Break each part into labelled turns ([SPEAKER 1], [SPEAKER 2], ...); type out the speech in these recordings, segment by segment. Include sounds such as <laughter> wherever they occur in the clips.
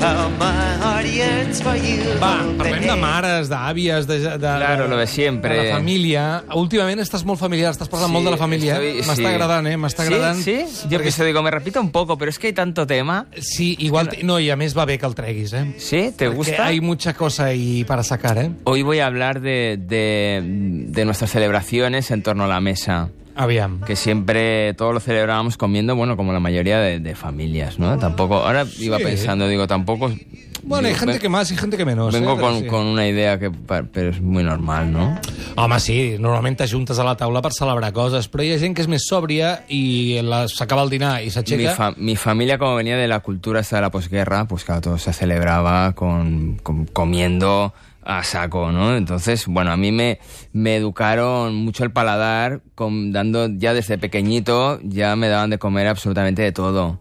[SPEAKER 1] How my heart yearns for you.
[SPEAKER 2] Va, parlem de mares, d'àvies, de, de,
[SPEAKER 3] Claro, lo de siempre.
[SPEAKER 2] de la família. Últimament estàs molt familiar, estàs parlant
[SPEAKER 3] Sí,
[SPEAKER 2] molt de la família. eh?
[SPEAKER 3] estoy- sí.
[SPEAKER 2] M'està agradant, eh? M'està
[SPEAKER 3] Sí,
[SPEAKER 2] agradant.
[SPEAKER 3] Sí, Yo
[SPEAKER 2] Perquè-
[SPEAKER 3] pienso, digo, me repito un poco, pero es que hay tanto tema.
[SPEAKER 2] Sí, igual... No, i a més va bé que el treguis, eh?
[SPEAKER 3] ¿Sí?
[SPEAKER 2] Que
[SPEAKER 3] ¿Te gusta?
[SPEAKER 2] hay mucha cosa ahí para sacar, eh?
[SPEAKER 3] Hoy voy a hablar de, de- de nuestras celebraciones en torno a la mesa.
[SPEAKER 2] Aviam.
[SPEAKER 3] Que siempre todo lo celebrábamos comiendo, bueno, como la mayoría de, de familias, ¿no? Tampoco, ahora iba
[SPEAKER 2] Sí.
[SPEAKER 3] pensando, digo, tampoco.
[SPEAKER 2] Bueno, hay
[SPEAKER 3] digo,
[SPEAKER 2] gente
[SPEAKER 3] ven-
[SPEAKER 2] que más y gente que menos. eh?
[SPEAKER 3] Vengo
[SPEAKER 2] Però
[SPEAKER 3] con,
[SPEAKER 2] sí.
[SPEAKER 3] con una idea que pa- pero es muy normal, ¿no?
[SPEAKER 2] Home, sí, normalment t'ajuntes a la taula per celebrar coses, però hi ha gent que és més sòbria i la- s'acaba el dinar i
[SPEAKER 3] Mi,
[SPEAKER 2] s'aixeca...
[SPEAKER 3] fa- mi familia, como venía de la cultura esta de la posguerra, pues claro, todo se celebraba con, con- comiendo a saco, ¿no? Entonces, bueno, a mí me, me educaron mucho el paladar, con, dando ya desde pequeñito, ya me daban de comer absolutamente de todo.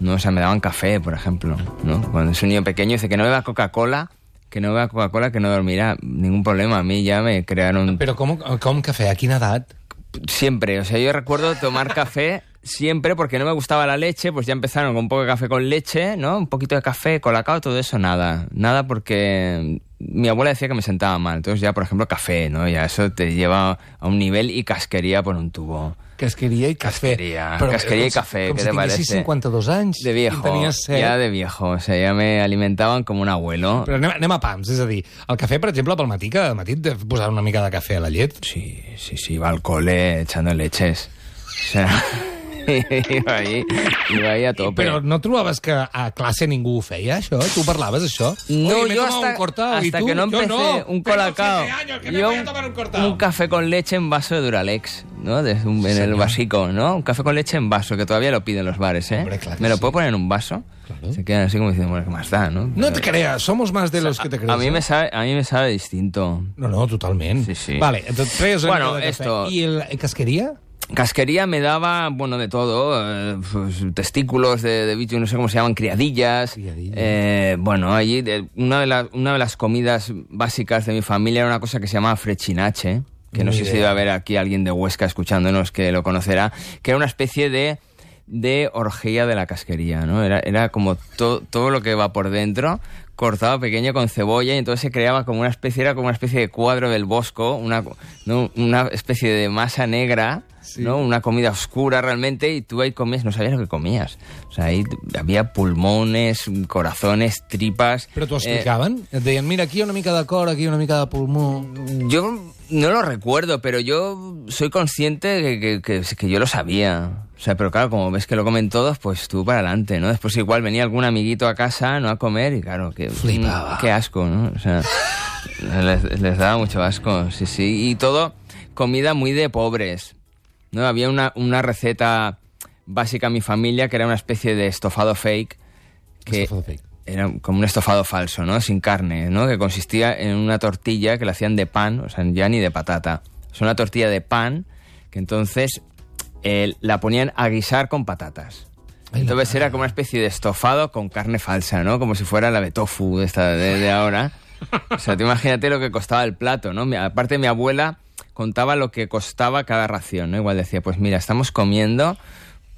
[SPEAKER 3] ¿no? O sea, me daban café, por ejemplo, ¿no? Cuando es un niño pequeño dice que no beba Coca-Cola, que no beba Coca-Cola, que no dormirá, ningún problema. A mí ya me crearon
[SPEAKER 2] Però com, com cafè? A quina edat?
[SPEAKER 3] Siempre, o sea, yo recuerdo tomar café siempre porque no me gustaba la leche, pues ya empezaron con un poco de café con leche, ¿no? Un poquito de café, colacao, todo eso, nada. Nada porque mi abuela decía que me sentaba mal. Entonces ya, por ejemplo, café, ¿no? Ya eso te lleva a un nivel y casquería por un tubo.
[SPEAKER 2] Casqueria i cafè. eh,
[SPEAKER 3] Casqueria, casqueria
[SPEAKER 2] com
[SPEAKER 3] i
[SPEAKER 2] si-
[SPEAKER 3] cafè,
[SPEAKER 2] com
[SPEAKER 3] què
[SPEAKER 2] si
[SPEAKER 3] te
[SPEAKER 2] tinguessis
[SPEAKER 3] parece?
[SPEAKER 2] 52 anys
[SPEAKER 3] De
[SPEAKER 2] i
[SPEAKER 3] viejo,
[SPEAKER 2] tenies set.
[SPEAKER 3] ya de viejo, o sea, ya me alimentaban como un abuelo.
[SPEAKER 2] Però anem, anem a pams, és a dir, el cafè, per exemple, pel matí, cada matí et de posar una mica de cafè a la llet.
[SPEAKER 3] Sí, sí, sí, iba al cole echando leches. O sea, <laughs> iba ahí, iba ahí a tope.
[SPEAKER 2] Però no trobaves que a classe ningú ho feia, això? Tu parlaves, això?
[SPEAKER 3] No,
[SPEAKER 2] Oye, me he
[SPEAKER 3] yo
[SPEAKER 2] tomado
[SPEAKER 3] hasta,
[SPEAKER 2] un cortado,
[SPEAKER 3] hasta
[SPEAKER 2] ¿y tú?
[SPEAKER 3] que no
[SPEAKER 2] Yo
[SPEAKER 3] empecé
[SPEAKER 2] no.
[SPEAKER 3] un
[SPEAKER 2] Tengo
[SPEAKER 3] colacao.
[SPEAKER 2] 15 años, que me
[SPEAKER 3] Yo
[SPEAKER 2] voy a tomar un cortado.
[SPEAKER 3] café con leche en vaso de Duralex, ¿no? Desde un- en el vasico, ¿no? Un café con leche en vaso, que todavía lo piden los bares, ¿eh?
[SPEAKER 2] Hombre, claro que
[SPEAKER 3] ¿Me lo
[SPEAKER 2] sí.
[SPEAKER 3] puedo poner en un vaso? Se quedan así como diciendo, bueno, ¿qué más da, no?
[SPEAKER 2] No te creas, somos más de los que te crees.
[SPEAKER 3] a, mí
[SPEAKER 2] eh?
[SPEAKER 3] me sabe, a mí me sabe distinto.
[SPEAKER 2] No, no, totalment.
[SPEAKER 3] Sí, sí.
[SPEAKER 2] Vale, entonces traies una
[SPEAKER 3] Bueno,
[SPEAKER 2] mica de cafè.
[SPEAKER 3] esto-
[SPEAKER 2] ¿Y el, el casquería?
[SPEAKER 3] Casquería me daba, bueno, de todo, eh, pues, testículos de, de bicho, no sé cómo se llaman, criadillas.
[SPEAKER 2] Criadillas.
[SPEAKER 3] Eh, bueno, allí de- una, de la- una de las comidas básicas de mi familia era una cosa que se llamaba frechinache, que no
[SPEAKER 2] Ni
[SPEAKER 3] sé si
[SPEAKER 2] idea.
[SPEAKER 3] va a haber aquí alguien de Huesca escuchándonos que lo conocerá, que era una especie de, de orgía de la casquería, ¿no? Era, era como to- todo lo que va por dentro cortado pequeño con cebolla y entonces se creaba como una especie, era como una especie de cuadro del bosco, una, ¿no? una especie de masa negra, ¿no? Una comida oscura realmente y tú ahí comías, no sabías lo que comías. O sea, ahí había pulmones, corazones, tripas.
[SPEAKER 2] Però t'ho
[SPEAKER 3] eh,
[SPEAKER 2] explicaven? Et deien, mira, aquí una mica de cor, aquí una mica de pulmó...
[SPEAKER 3] Yo no lo recuerdo, pero yo soy consciente que, que- que- que yo lo sabía. O sea, pero claro, como ves que lo comen todos, pues tú para adelante, ¿no? Después igual venía algún amiguito a casa, ¿no? A comer y claro, que... mm,
[SPEAKER 2] Flipaba.
[SPEAKER 3] Qué asco, ¿no? O sea, les, les daba mucho asco, sí, sí. Y todo comida muy de pobres, ¿no? Había una, una receta básica en mi familia que era una especie de estofado fake. Que,
[SPEAKER 2] Estofado fake.
[SPEAKER 3] era como un estofado falso, ¿no? Sin carne, ¿no? Que consistía en una tortilla que la hacían de pan, o sea, ya ni de patata. Es una tortilla de pan que entonces eh, la ponían a guisar con patatas.
[SPEAKER 2] Ay, la
[SPEAKER 3] Entonces era como una especie de estofado con carne falsa, ¿no? Como si fuera la de tofu de, esta, de, de ahora. O sea, tú imagínate lo que costaba el plato, ¿no? Mi- Aparte mi abuela contaba lo que costaba cada ración, ¿no? Igual decía, pues mira, estamos comiendo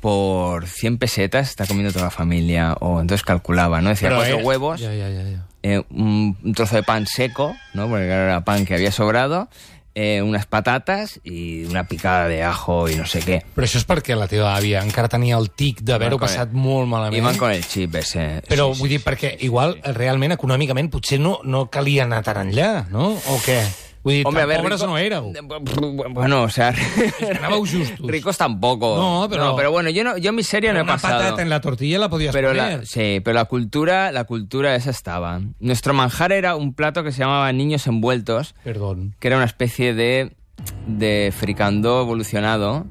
[SPEAKER 3] por 100 pesetas, está comiendo toda la familia. O entonces calculaba, ¿no? Decía,
[SPEAKER 2] Però,
[SPEAKER 3] cuatro
[SPEAKER 2] eh,
[SPEAKER 3] huevos
[SPEAKER 2] Ja, ja, ja, ja.
[SPEAKER 3] eh, un, un trozo de pan seco, ¿no? Porque claro, era pan que había sobrado, eh, unas patatas y una picada de ajo y no sé qué.
[SPEAKER 2] Però això és perquè la teva àvia encara tenia el tic d'haver-ho
[SPEAKER 3] Iban con
[SPEAKER 2] passat
[SPEAKER 3] el-
[SPEAKER 2] molt
[SPEAKER 3] Iban
[SPEAKER 2] malament.
[SPEAKER 3] con el chip ese.
[SPEAKER 2] Però
[SPEAKER 3] sí, sí.
[SPEAKER 2] vull dir, perquè igual realment econòmicament potser no, no calia anar tan enllà, no? O què? Vull dir,
[SPEAKER 3] Hombre, a
[SPEAKER 2] tan
[SPEAKER 3] ver,
[SPEAKER 2] pobres
[SPEAKER 3] rico-
[SPEAKER 2] no éreu.
[SPEAKER 3] Bueno, o sea...
[SPEAKER 2] anàveu justos.
[SPEAKER 3] <laughs> Ricos tampoco.
[SPEAKER 2] No, pero-
[SPEAKER 3] pero bueno, yo, no, yo miseria no he
[SPEAKER 2] Una
[SPEAKER 3] pasado.
[SPEAKER 2] patata en la tortilla la podies
[SPEAKER 3] pero
[SPEAKER 2] poner.
[SPEAKER 3] la, sí, pero la cultura, la cultura esa estaba. Nuestro manjar era un plato que se llamaba niños envueltos,
[SPEAKER 2] Perdón.
[SPEAKER 3] que era una especie de, de fricandó evolucionado,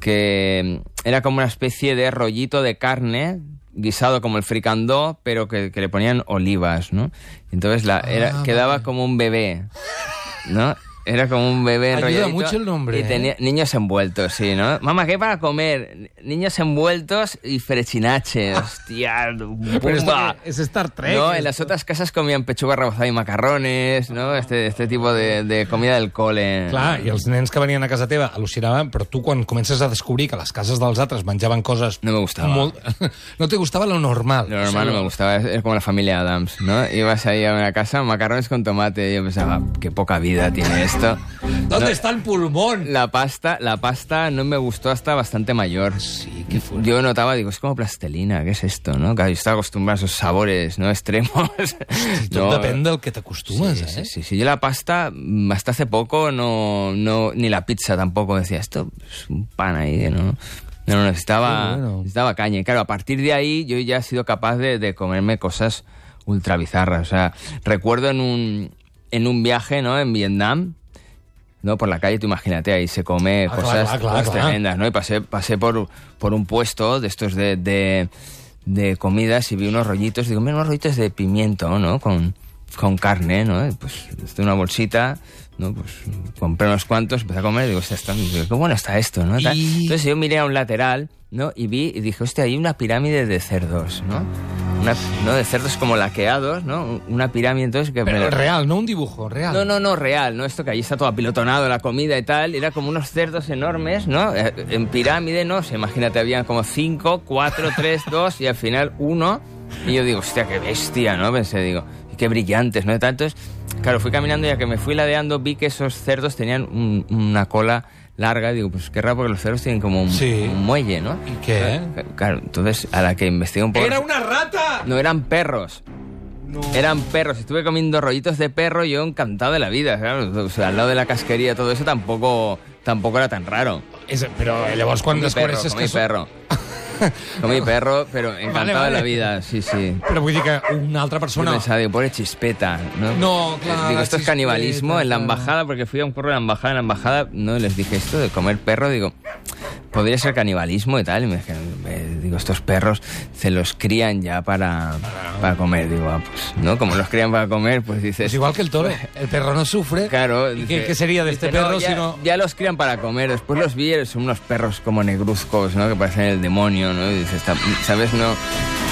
[SPEAKER 3] que era como una especie de rollito de carne guisado como el fricandó, pero que, que le ponían olivas, ¿no? Entonces la, era,
[SPEAKER 2] Ah,
[SPEAKER 3] quedaba como un bebé, ¿no? Era como un bebé
[SPEAKER 2] Ayuda
[SPEAKER 3] enrolladito.
[SPEAKER 2] mucho el nombre, ¿eh?
[SPEAKER 3] Y tenía niños envueltos, sí, ¿no? Mamá, ¿qué para comer? Niños envueltos y frechinache. Hostia,
[SPEAKER 2] <laughs> Pero esto
[SPEAKER 3] bomba.
[SPEAKER 2] que es Star Trek.
[SPEAKER 3] No, en las otras casas comían pechuga rebozada y macarrones, ¿no? Este, este tipo de, de comida del cole.
[SPEAKER 2] Clar, i els nens que venien a casa teva al·lucinaven, però tu quan comences a descobrir que a les cases dels altres menjaven coses...
[SPEAKER 3] No me gustava.
[SPEAKER 2] <laughs> No te gustava lo normal.
[SPEAKER 3] Lo normal no me gustaba, es- es como la familia Adams, ¿no? Ibas ahí a una casa, macarrones con tomate, y yo pensaba, qué poca vida tiene esto.
[SPEAKER 2] ¿Dónde
[SPEAKER 3] No,
[SPEAKER 2] está el pulmón?
[SPEAKER 3] La pasta, la pasta no me gustó hasta bastante mayor.
[SPEAKER 2] Sí, qué fuerte.
[SPEAKER 3] Yo notaba, digo, es como plastelina, ¿qué es esto, no? Claro, yo estaba acostumbrado a esos sabores, ¿no? <laughs> Extremos.
[SPEAKER 2] Tot
[SPEAKER 3] No,
[SPEAKER 2] depèn del que t'acostumes,
[SPEAKER 3] Sí,
[SPEAKER 2] eh?
[SPEAKER 3] sí, sí, sí. Yo la pasta, mm, hasta hace poco, no, no, ni la pizza tampoco. Decía, esto es un pan ahí, que ¿no? No, no, necesitaba,
[SPEAKER 2] Sí, bueno.
[SPEAKER 3] necesitaba caña. Y claro, a partir de ahí yo ya he sido capaz de, de comerme cosas ultra bizarras. O sea, recuerdo en un, en un viaje, ¿no? En Vietnam, ¿no? Por la calle, tú imagínate, ahí se come
[SPEAKER 2] Ah,
[SPEAKER 3] cosas,
[SPEAKER 2] claro, claro,
[SPEAKER 3] cosas
[SPEAKER 2] claro.
[SPEAKER 3] tremendas, ¿no? Y pasé, pasé por, por un puesto de estos de, de, de comidas y vi unos rollitos, digo, mira, unos rollitos de pimiento, ¿no? Con, con carne, ¿no? Y pues de una bolsita, ¿no? Pues compré unos cuantos, empecé a comer y digo, "Hostia, está- digo, qué bueno está esto, ¿no? Tal.
[SPEAKER 2] Y-
[SPEAKER 3] Entonces yo miré a un lateral, ¿no? Y vi y dije, hostia, hay una pirámide de cerdos, ¿no? Una, ¿no? De cerdos como laqueados, ¿no? Una pirámide entonces que... me-
[SPEAKER 2] Però real, no un dibujo, real.
[SPEAKER 3] no, no, no, real, ¿no? Esto que allí está todo apilotonado, la comida y tal. Era como unos cerdos enormes, ¿no? Eh, En pirámide, ¿no? sé, imagínate, habían como cinco, cuatro,
[SPEAKER 2] <laughs>
[SPEAKER 3] tres, dos y al final uno. Y yo digo, hostia, qué bestia, ¿no? Pensé, digo, y qué brillantes, ¿no? Tantos. Claro, fui caminando y a que me fui ladeando vi que esos cerdos tenían un- una cola larga. Y digo, pues qué raro porque los cerdos tienen como un,
[SPEAKER 2] Sí.
[SPEAKER 3] un muelle, ¿no?
[SPEAKER 2] ¿Y qué?
[SPEAKER 3] Claro, entonces a la que investigué un poco...
[SPEAKER 2] Era una rata!
[SPEAKER 3] No, eran perros. Eran perros. Estuve comiendo rollitos de perro y yo encantado de la vida. claro. O sea, al lado de la casquería, todo eso tampoco, tampoco era tan raro.
[SPEAKER 2] És, però eh, llavors quan
[SPEAKER 3] Comí perro,
[SPEAKER 2] descobreixes
[SPEAKER 3] comí
[SPEAKER 2] que... són- <laughs>
[SPEAKER 3] perro. comí perro, pero encantado de la
[SPEAKER 2] vale.
[SPEAKER 3] vida, sí, sí.
[SPEAKER 2] Pero vull dir que una altra
[SPEAKER 3] Yo
[SPEAKER 2] persona...
[SPEAKER 3] pensaba, digo, pobre chispeta, ¿no? Eh,
[SPEAKER 2] No, claro,
[SPEAKER 3] Digo, esto es
[SPEAKER 2] chispeta,
[SPEAKER 3] canibalismo en la
[SPEAKER 2] claro.
[SPEAKER 3] embajada, porque fui a un curro de la embajada, en la embajada, no, les dije esto de comer perro, digo, podría ser canibalismo y tal, y me dijeron, eh, digo, estos perros se los crían ya para, para comer, digo, ah, pues, ¿no? Como los crían para comer, pues dices...
[SPEAKER 2] Es igual que el
[SPEAKER 3] <laughs>
[SPEAKER 2] toro. El perro no sufre.
[SPEAKER 3] Claro,
[SPEAKER 2] ¿Y
[SPEAKER 3] dice-
[SPEAKER 2] qué, qué sería de este
[SPEAKER 3] dice, no,
[SPEAKER 2] perro
[SPEAKER 3] ya,
[SPEAKER 2] si no...?
[SPEAKER 3] ya los crían para comer, después los vi, eh, son unos perros como negruzcos, ¿no? Que parecen el demonio, ¿no? Y dices, ¿sabes? No,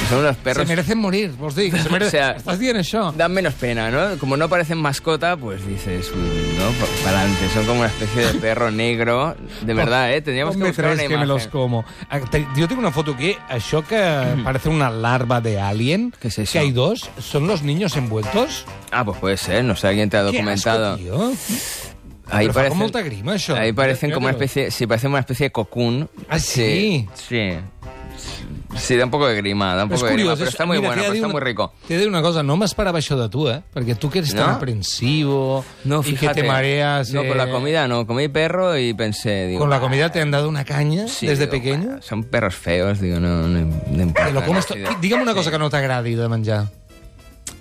[SPEAKER 3] son unos perros...
[SPEAKER 2] Se merecen morir, vos dic. Se mere...
[SPEAKER 3] <laughs> O sea,
[SPEAKER 2] Estàs dient això?
[SPEAKER 3] <laughs> Dan menos pena, ¿no? Como no parecen mascota, pues dices, uy, ¿no? Para adelante, son como una especie de perro negro.
[SPEAKER 2] <laughs>
[SPEAKER 3] De verdad, ¿eh? Teníamos que
[SPEAKER 2] Ponme
[SPEAKER 3] buscar una
[SPEAKER 2] tres que me los
[SPEAKER 3] imagen. Mm.
[SPEAKER 2] como. Ah, te- Yo tengo una foto aquí, això que parece una larva de alien,
[SPEAKER 3] ¿Qué es eso?
[SPEAKER 2] que hay dos, son los niños envueltos.
[SPEAKER 3] Ah, pues puede ser, no sé, alguien te ha
[SPEAKER 2] Qué
[SPEAKER 3] documentado.
[SPEAKER 2] asco, tío.
[SPEAKER 3] Ahí
[SPEAKER 2] Pero fa com molta grima, això.
[SPEAKER 3] Ahí parecen
[SPEAKER 2] Mira,
[SPEAKER 3] como una
[SPEAKER 2] mira-lo.
[SPEAKER 3] especie, sí, parecen una especie de cocoon.
[SPEAKER 2] Ah, sí.
[SPEAKER 3] Sí. Sí, da un poco de grima, da un
[SPEAKER 2] Però és
[SPEAKER 3] poco de grima,
[SPEAKER 2] curiós.
[SPEAKER 3] pero
[SPEAKER 2] és-
[SPEAKER 3] está muy
[SPEAKER 2] mira,
[SPEAKER 3] bueno,
[SPEAKER 2] t'he de
[SPEAKER 3] pero
[SPEAKER 2] dir
[SPEAKER 3] está
[SPEAKER 2] una-
[SPEAKER 3] muy rico.
[SPEAKER 2] T'he de dir una cosa, no m'esperava això de tu, eh? Perquè tu que eres tan
[SPEAKER 3] No?
[SPEAKER 2] aprensivo
[SPEAKER 3] No,
[SPEAKER 2] i
[SPEAKER 3] fíjate.
[SPEAKER 2] que te mareas...
[SPEAKER 3] No,
[SPEAKER 2] eh,
[SPEAKER 3] con la comida no, comí perro y pensé, digo...
[SPEAKER 2] Con la comida te han dado una caña
[SPEAKER 3] sí,
[SPEAKER 2] desde
[SPEAKER 3] digo,
[SPEAKER 2] pequeño.
[SPEAKER 3] "Bueno, Son perros feos, digo, no, no, no importa.
[SPEAKER 2] Te lo comes to-
[SPEAKER 3] ¿no? Sí, de-
[SPEAKER 2] Digue'm una cosa que no t'agradi de menjar.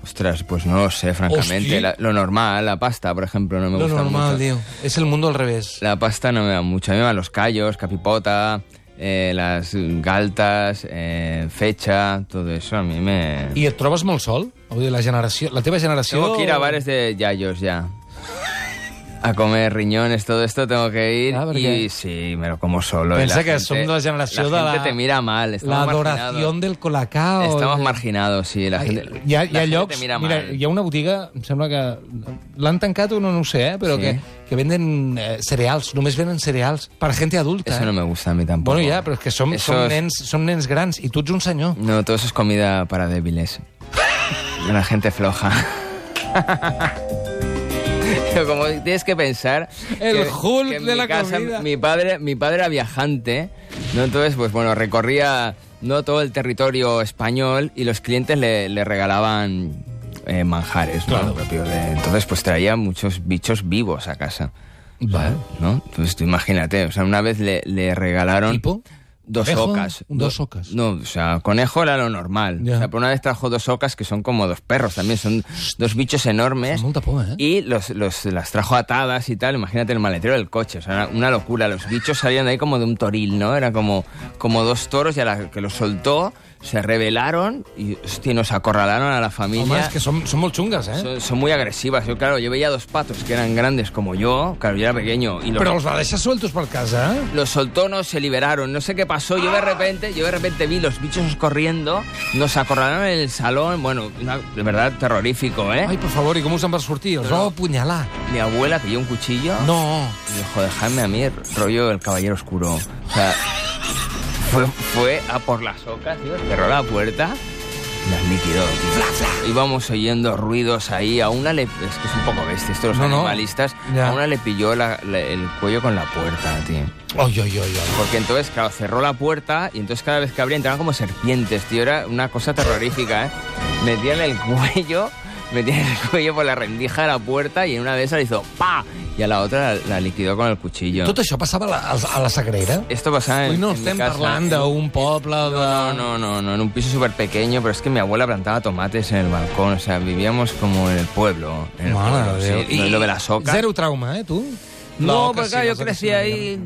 [SPEAKER 3] Ostras, pues no lo sé,
[SPEAKER 2] Hosti.
[SPEAKER 3] francamente. La- lo normal, la pasta, por ejemplo, no me
[SPEAKER 2] Lo
[SPEAKER 3] gusta
[SPEAKER 2] normal,
[SPEAKER 3] mucho.
[SPEAKER 2] tío. Es el mundo al revés.
[SPEAKER 3] La pasta no me da mucho. A mí me van los callos, capipota, eh, las galtas, eh, fecha, todo eso a mí me...
[SPEAKER 2] I et trobes molt sol? Vull dir, la generació... La teva generació...
[SPEAKER 3] Tengo que ir a bares de yayos ya. A comer riñones, todo esto tengo que ir
[SPEAKER 2] Ah, ¿por qué?
[SPEAKER 3] y sí, me lo como solo. y
[SPEAKER 2] Pensa
[SPEAKER 3] la
[SPEAKER 2] que
[SPEAKER 3] gente-
[SPEAKER 2] som de la generació
[SPEAKER 3] la
[SPEAKER 2] de
[SPEAKER 3] gente
[SPEAKER 2] la...
[SPEAKER 3] te mira mal,
[SPEAKER 2] La
[SPEAKER 3] estamos
[SPEAKER 2] adoració
[SPEAKER 3] marginados.
[SPEAKER 2] del colacao.
[SPEAKER 3] Estamos marginados, sí, la
[SPEAKER 2] Ai,
[SPEAKER 3] gente,
[SPEAKER 2] hi ha, hi
[SPEAKER 3] la
[SPEAKER 2] ha
[SPEAKER 3] gente
[SPEAKER 2] llocs...
[SPEAKER 3] te mira
[SPEAKER 2] mira,
[SPEAKER 3] mal.
[SPEAKER 2] hi ha una botiga, em sembla que... L'han tancat o no, no ho sé, eh? però
[SPEAKER 3] Sí.
[SPEAKER 2] sí. que, que venden eh, cereals, només venen cereals per gent adulta.
[SPEAKER 3] Eso
[SPEAKER 2] eh?
[SPEAKER 3] no me gusta a mí tampoco.
[SPEAKER 2] Bueno, ja, però és que som, som,
[SPEAKER 3] Esos-
[SPEAKER 2] nens, som nens grans i tu ets un senyor.
[SPEAKER 3] No, todo eso es comida para débiles. La gente floja. <laughs> Pero como tienes que pensar...
[SPEAKER 2] El
[SPEAKER 3] que-
[SPEAKER 2] Hulk
[SPEAKER 3] que en
[SPEAKER 2] de
[SPEAKER 3] mi
[SPEAKER 2] la
[SPEAKER 3] casa,
[SPEAKER 2] comida.
[SPEAKER 3] Mi padre, mi padre era viajante, ¿no? Entonces, pues bueno, recorría no todo el territorio español y los clientes le, le regalaban eh, manjares, ¿no?
[SPEAKER 2] Claro.
[SPEAKER 3] Propio de- entonces, pues traía muchos bichos vivos a casa.
[SPEAKER 2] Vale.
[SPEAKER 3] ¿No? Entonces, tú imagínate, o sea, una vez le, le regalaron...
[SPEAKER 2] Tipo?
[SPEAKER 3] Dos
[SPEAKER 2] Conejo,
[SPEAKER 3] ocas.
[SPEAKER 2] dos ocas.
[SPEAKER 3] No, o sea, conejo era lo normal.
[SPEAKER 2] Ya.
[SPEAKER 3] O sea, por una vez trajo dos ocas que son como dos perros también, son dos bichos enormes.
[SPEAKER 2] Molta por, eh?
[SPEAKER 3] Y los, los- las trajo atadas y tal, imagínate el maletero del coche, o sea, era una locura. Los bichos salían de ahí como de un toril, ¿no? Era como, como dos toros y a la que los soltó se rebelaron y hostia, nos acorralaron a la familia.
[SPEAKER 2] Home, és que són, són molt xungues, eh?
[SPEAKER 3] Son, son muy agresivas. Yo, claro, yo veía dos patos que eran grandes como yo. Claro, yo era pequeño. Y los,
[SPEAKER 2] Però els va deixar sueltos per casa, eh?
[SPEAKER 3] los soltó, no se liberaron. No sé qué pasó. Yo de repente, yo de repente vi los bichos corriendo. Nos acorralaron en el salón. Bueno, una- de verdad, terrorífico, ¿eh?
[SPEAKER 2] Ai, per favor, i com us en va sortir? Els vau apunyalar.
[SPEAKER 3] Mi abuela pilló un cuchillo.
[SPEAKER 2] No.
[SPEAKER 3] Y dijo, dejadme a mí, rollo el caballero oscuro. O sea, fue, fue a por las socas, tío, cerró la puerta y las liquidó, tío. Íbamos oyendo ruidos ahí, a una le... Es que es un poco bestia, esto los
[SPEAKER 2] No, no.
[SPEAKER 3] animalistas.
[SPEAKER 2] Ya.
[SPEAKER 3] A una le pilló la- la- el cuello con la puerta, tío.
[SPEAKER 2] Oi, oi, oi, oi.
[SPEAKER 3] Porque entonces, claro, cerró la puerta y entonces cada vez que abría entraban como serpientes, tío. Era una cosa terrorífica, ¿eh? Metían el cuello, <laughs> metían el cuello por la rendija de la puerta y en una de esas le hizo ¡pa! Y a la otra la, la liquidó con el cuchillo.
[SPEAKER 2] Tot això passava a la, a la Sagrera?
[SPEAKER 3] Esto pasaba Eh, en,
[SPEAKER 2] Ui, no
[SPEAKER 3] en mi
[SPEAKER 2] estem
[SPEAKER 3] casa.
[SPEAKER 2] parlant d'un poble de...
[SPEAKER 3] No, no, no, no, en un piso súper pequeño, pero es que mi abuela plantaba tomates en el balcón, o sea, vivíamos como en el pueblo. En el
[SPEAKER 2] Mare
[SPEAKER 3] pueblo,
[SPEAKER 2] de Déu.
[SPEAKER 3] sí. No, y lo de las ocas.
[SPEAKER 2] Zero trauma, eh, tu?
[SPEAKER 3] No,
[SPEAKER 2] oca
[SPEAKER 3] porque
[SPEAKER 2] sí,
[SPEAKER 3] claro, yo
[SPEAKER 2] les oques
[SPEAKER 3] crecí
[SPEAKER 2] sí,
[SPEAKER 3] ahí.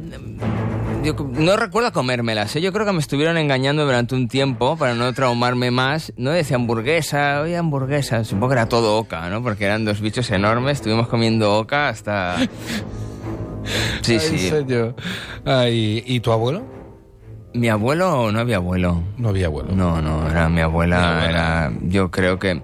[SPEAKER 3] yo no recuerdo comérmelas, ¿eh? yo creo que me estuvieron engañando durante un tiempo para no traumarme más. No decía hamburguesa, oye hamburguesa, supongo que era todo oca, ¿no? Porque eran dos bichos enormes, estuvimos comiendo oca <laughs> hasta. Sí,
[SPEAKER 2] Ai,
[SPEAKER 3] sí.
[SPEAKER 2] senyor. Ai, I tu abuelo?
[SPEAKER 3] Mi abuelo no había abuelo.
[SPEAKER 2] No havia abuelo.
[SPEAKER 3] No, no, era mi abuela,
[SPEAKER 2] Mi abuela.
[SPEAKER 3] era. Yo creo que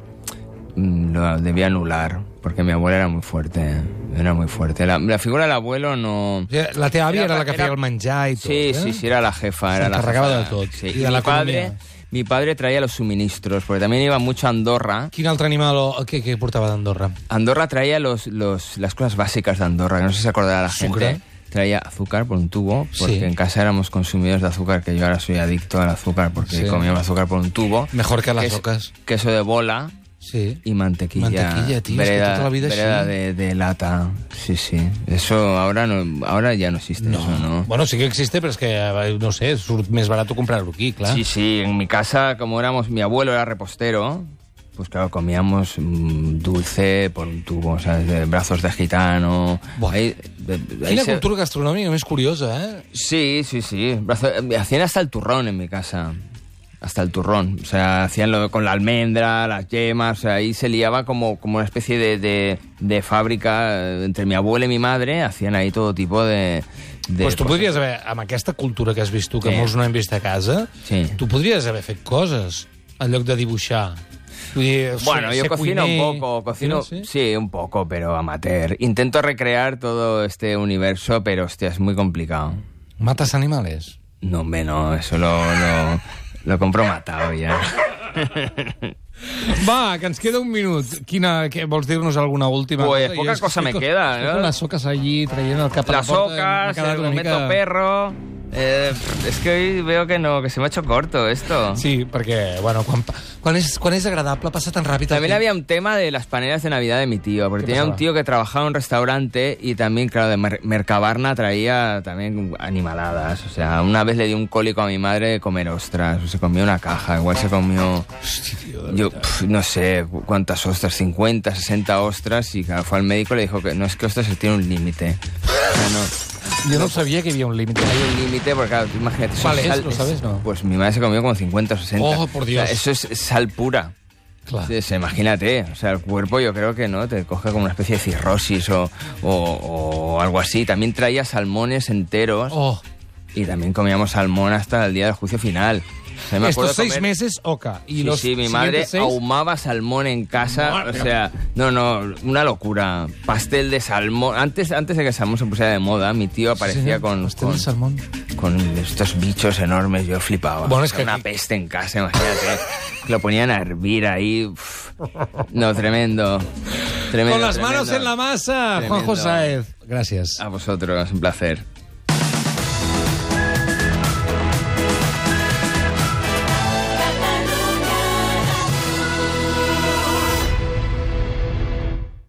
[SPEAKER 3] mm, lo debía anular, porque mi abuela era muy fuerte. Era muy fuerte. La, la figura del abuelo no.
[SPEAKER 2] O sigui, la teva àvia
[SPEAKER 3] Era-
[SPEAKER 2] era la que
[SPEAKER 3] era-
[SPEAKER 2] feia el menjar i tot,
[SPEAKER 3] Sí,
[SPEAKER 2] eh?
[SPEAKER 3] sí, sí, era la jefa.
[SPEAKER 2] Se
[SPEAKER 3] era la
[SPEAKER 2] encarregaba
[SPEAKER 3] jefa.
[SPEAKER 2] de todo.
[SPEAKER 3] Sí,
[SPEAKER 2] Y
[SPEAKER 3] Y,
[SPEAKER 2] de la
[SPEAKER 3] mi, padre,
[SPEAKER 2] economía.
[SPEAKER 3] mi padre traía los suministros, porque también iba mucho a Andorra.
[SPEAKER 2] Quin altre animal o, que, que portava d'Andorra?
[SPEAKER 3] Andorra traía los, los- las cosas básicas de Andorra, que no sé si se acordará la
[SPEAKER 2] Sucre.
[SPEAKER 3] gente. Traía azúcar por un tubo, porque
[SPEAKER 2] Sí.
[SPEAKER 3] en casa éramos consumidores de azúcar, que yo ahora soy adicto al azúcar, porque
[SPEAKER 2] Sí.
[SPEAKER 3] comíamos azúcar por un tubo.
[SPEAKER 2] Mejor que las
[SPEAKER 3] Queso-
[SPEAKER 2] ocas.
[SPEAKER 3] Queso de bola
[SPEAKER 2] Sí.
[SPEAKER 3] y mantequilla.
[SPEAKER 2] Mantequilla, tío, es que
[SPEAKER 3] Vereda-
[SPEAKER 2] toda la vida
[SPEAKER 3] vereda
[SPEAKER 2] sí.
[SPEAKER 3] de, de lata. Sí, sí. Eso ahora, no, ahora ya no existe. Eso, ¿no?
[SPEAKER 2] Bueno, sí que existe, però és que, eh, no sé, surt més barat comprar-ho aquí, clar.
[SPEAKER 3] Sí, sí, en mi casa, como éramos, mi abuelo era repostero, pues claro, comíamos mm, dulce por un tubo, o sea, de brazos de gitano.
[SPEAKER 2] Buah.
[SPEAKER 3] Ahí- de- de- ahí
[SPEAKER 2] Quina
[SPEAKER 3] se-
[SPEAKER 2] cultura gastronòmica més curiosa, eh?
[SPEAKER 3] Sí, sí, sí. brazo- eh, hacían hasta el turrón en mi casa. Hasta el turrón. O sea, hacían lo con la almendra, las yemas. O sea, ahí se liaba como, como una especie de, de- de fábrica eh, entre mi abuela y mi madre. Hacían ahí todo tipo de. de
[SPEAKER 2] Doncs tu
[SPEAKER 3] cosas.
[SPEAKER 2] podries haver, amb aquesta cultura que has vist tu, que
[SPEAKER 3] Sí.
[SPEAKER 2] molts no hem vist a casa,
[SPEAKER 3] Sí.
[SPEAKER 2] tu podries haver fet coses en lloc de dibuixar. Vull dir,
[SPEAKER 3] Bueno,
[SPEAKER 2] ser-
[SPEAKER 3] yo
[SPEAKER 2] ser
[SPEAKER 3] cocino
[SPEAKER 2] cuiner,
[SPEAKER 3] un poco, cocino,
[SPEAKER 2] Sí?
[SPEAKER 3] sí? un poco, pero amateur. Intento recrear todo este universo, pero hostia, es muy complicado.
[SPEAKER 2] Mates animales?
[SPEAKER 3] No, hombre, no, eso lo, lo, lo compro matado ya.
[SPEAKER 2] Va, que ens queda un minut. Quina, què, vols dir-nos alguna última
[SPEAKER 3] Pues
[SPEAKER 2] cosa?
[SPEAKER 3] poca
[SPEAKER 2] Jo
[SPEAKER 3] cosa me
[SPEAKER 2] estic-
[SPEAKER 3] queda,
[SPEAKER 2] estic
[SPEAKER 3] eh?
[SPEAKER 2] Con las ocas allí traient el cap a la
[SPEAKER 3] Las
[SPEAKER 2] porta. m'ha
[SPEAKER 3] ocas,
[SPEAKER 2] quedat
[SPEAKER 3] el
[SPEAKER 2] una
[SPEAKER 3] momento
[SPEAKER 2] mica-
[SPEAKER 3] perro. Eh, es que hoy veo que no, que se me ha hecho corto esto.
[SPEAKER 2] Sí, perquè, bueno, quan, pa- quan, és, quan és agradable passa tan ràpid. el
[SPEAKER 3] También
[SPEAKER 2] temps.
[SPEAKER 3] había un tema de las panelas de Navidad de mi tío, porque
[SPEAKER 2] ¿Qué
[SPEAKER 3] tenía un
[SPEAKER 2] pasaba?
[SPEAKER 3] tío que trabajaba en un restaurante y también, claro, de Mer- Mercabarna traía también animaladas. O sea, una vez le di un cólico a mi madre de comer ostras, o se comió una caja, igual se comió, yo pf, no sé cu- cuántas ostras, 50, 60 ostras, y claro, fue al médico y le dijo que no es que ostras, se tiene un límite. O sea, no,
[SPEAKER 2] Jo no sabia que hi havia un límit.
[SPEAKER 3] hay un límite porque, claro, tú imagínate... eso
[SPEAKER 2] ¿Cuál es?
[SPEAKER 3] sal-
[SPEAKER 2] ¿Lo sabes, no?
[SPEAKER 3] Pues mi madre se comió como 50 o 60.
[SPEAKER 2] Oh, por
[SPEAKER 3] O sea,
[SPEAKER 2] Dios.
[SPEAKER 3] eso es sal pura.
[SPEAKER 2] Clar.
[SPEAKER 3] Sí, sí, imagínate, ¿eh? o sea, el cuerpo yo creo que no, te coge como una especie de cirrosis o, o- o algo así. También traía salmones enteros
[SPEAKER 2] Oh,
[SPEAKER 3] y también comíamos salmón hasta el día del juicio final. O sea, me acuerdo
[SPEAKER 2] estos seis
[SPEAKER 3] comer-
[SPEAKER 2] meses, oca. Y
[SPEAKER 3] Sí,
[SPEAKER 2] los
[SPEAKER 3] sí, mi
[SPEAKER 2] siguientes
[SPEAKER 3] madre
[SPEAKER 2] seis,
[SPEAKER 3] ahumaba salmón en casa,
[SPEAKER 2] Madre mía.
[SPEAKER 3] o sea, no, no, una locura. Pastel de salmón, antes, antes de que el salmón se pusiera de moda, mi tío aparecía
[SPEAKER 2] señor,
[SPEAKER 3] con,
[SPEAKER 2] pastel de
[SPEAKER 3] con-
[SPEAKER 2] salmón.
[SPEAKER 3] con estos bichos enormes, yo flipaba.
[SPEAKER 2] Bueno, es que
[SPEAKER 3] Era una
[SPEAKER 2] aquí-
[SPEAKER 3] peste en casa, imagínate. Lo ponían a hervir ahí. uf. No, tremendo. Tremendo.
[SPEAKER 2] Con las manos
[SPEAKER 3] tremendo.
[SPEAKER 2] en la masa,
[SPEAKER 3] Tremendo.
[SPEAKER 2] Juanjo Saez. Gracias.
[SPEAKER 3] A vosotros, un placer.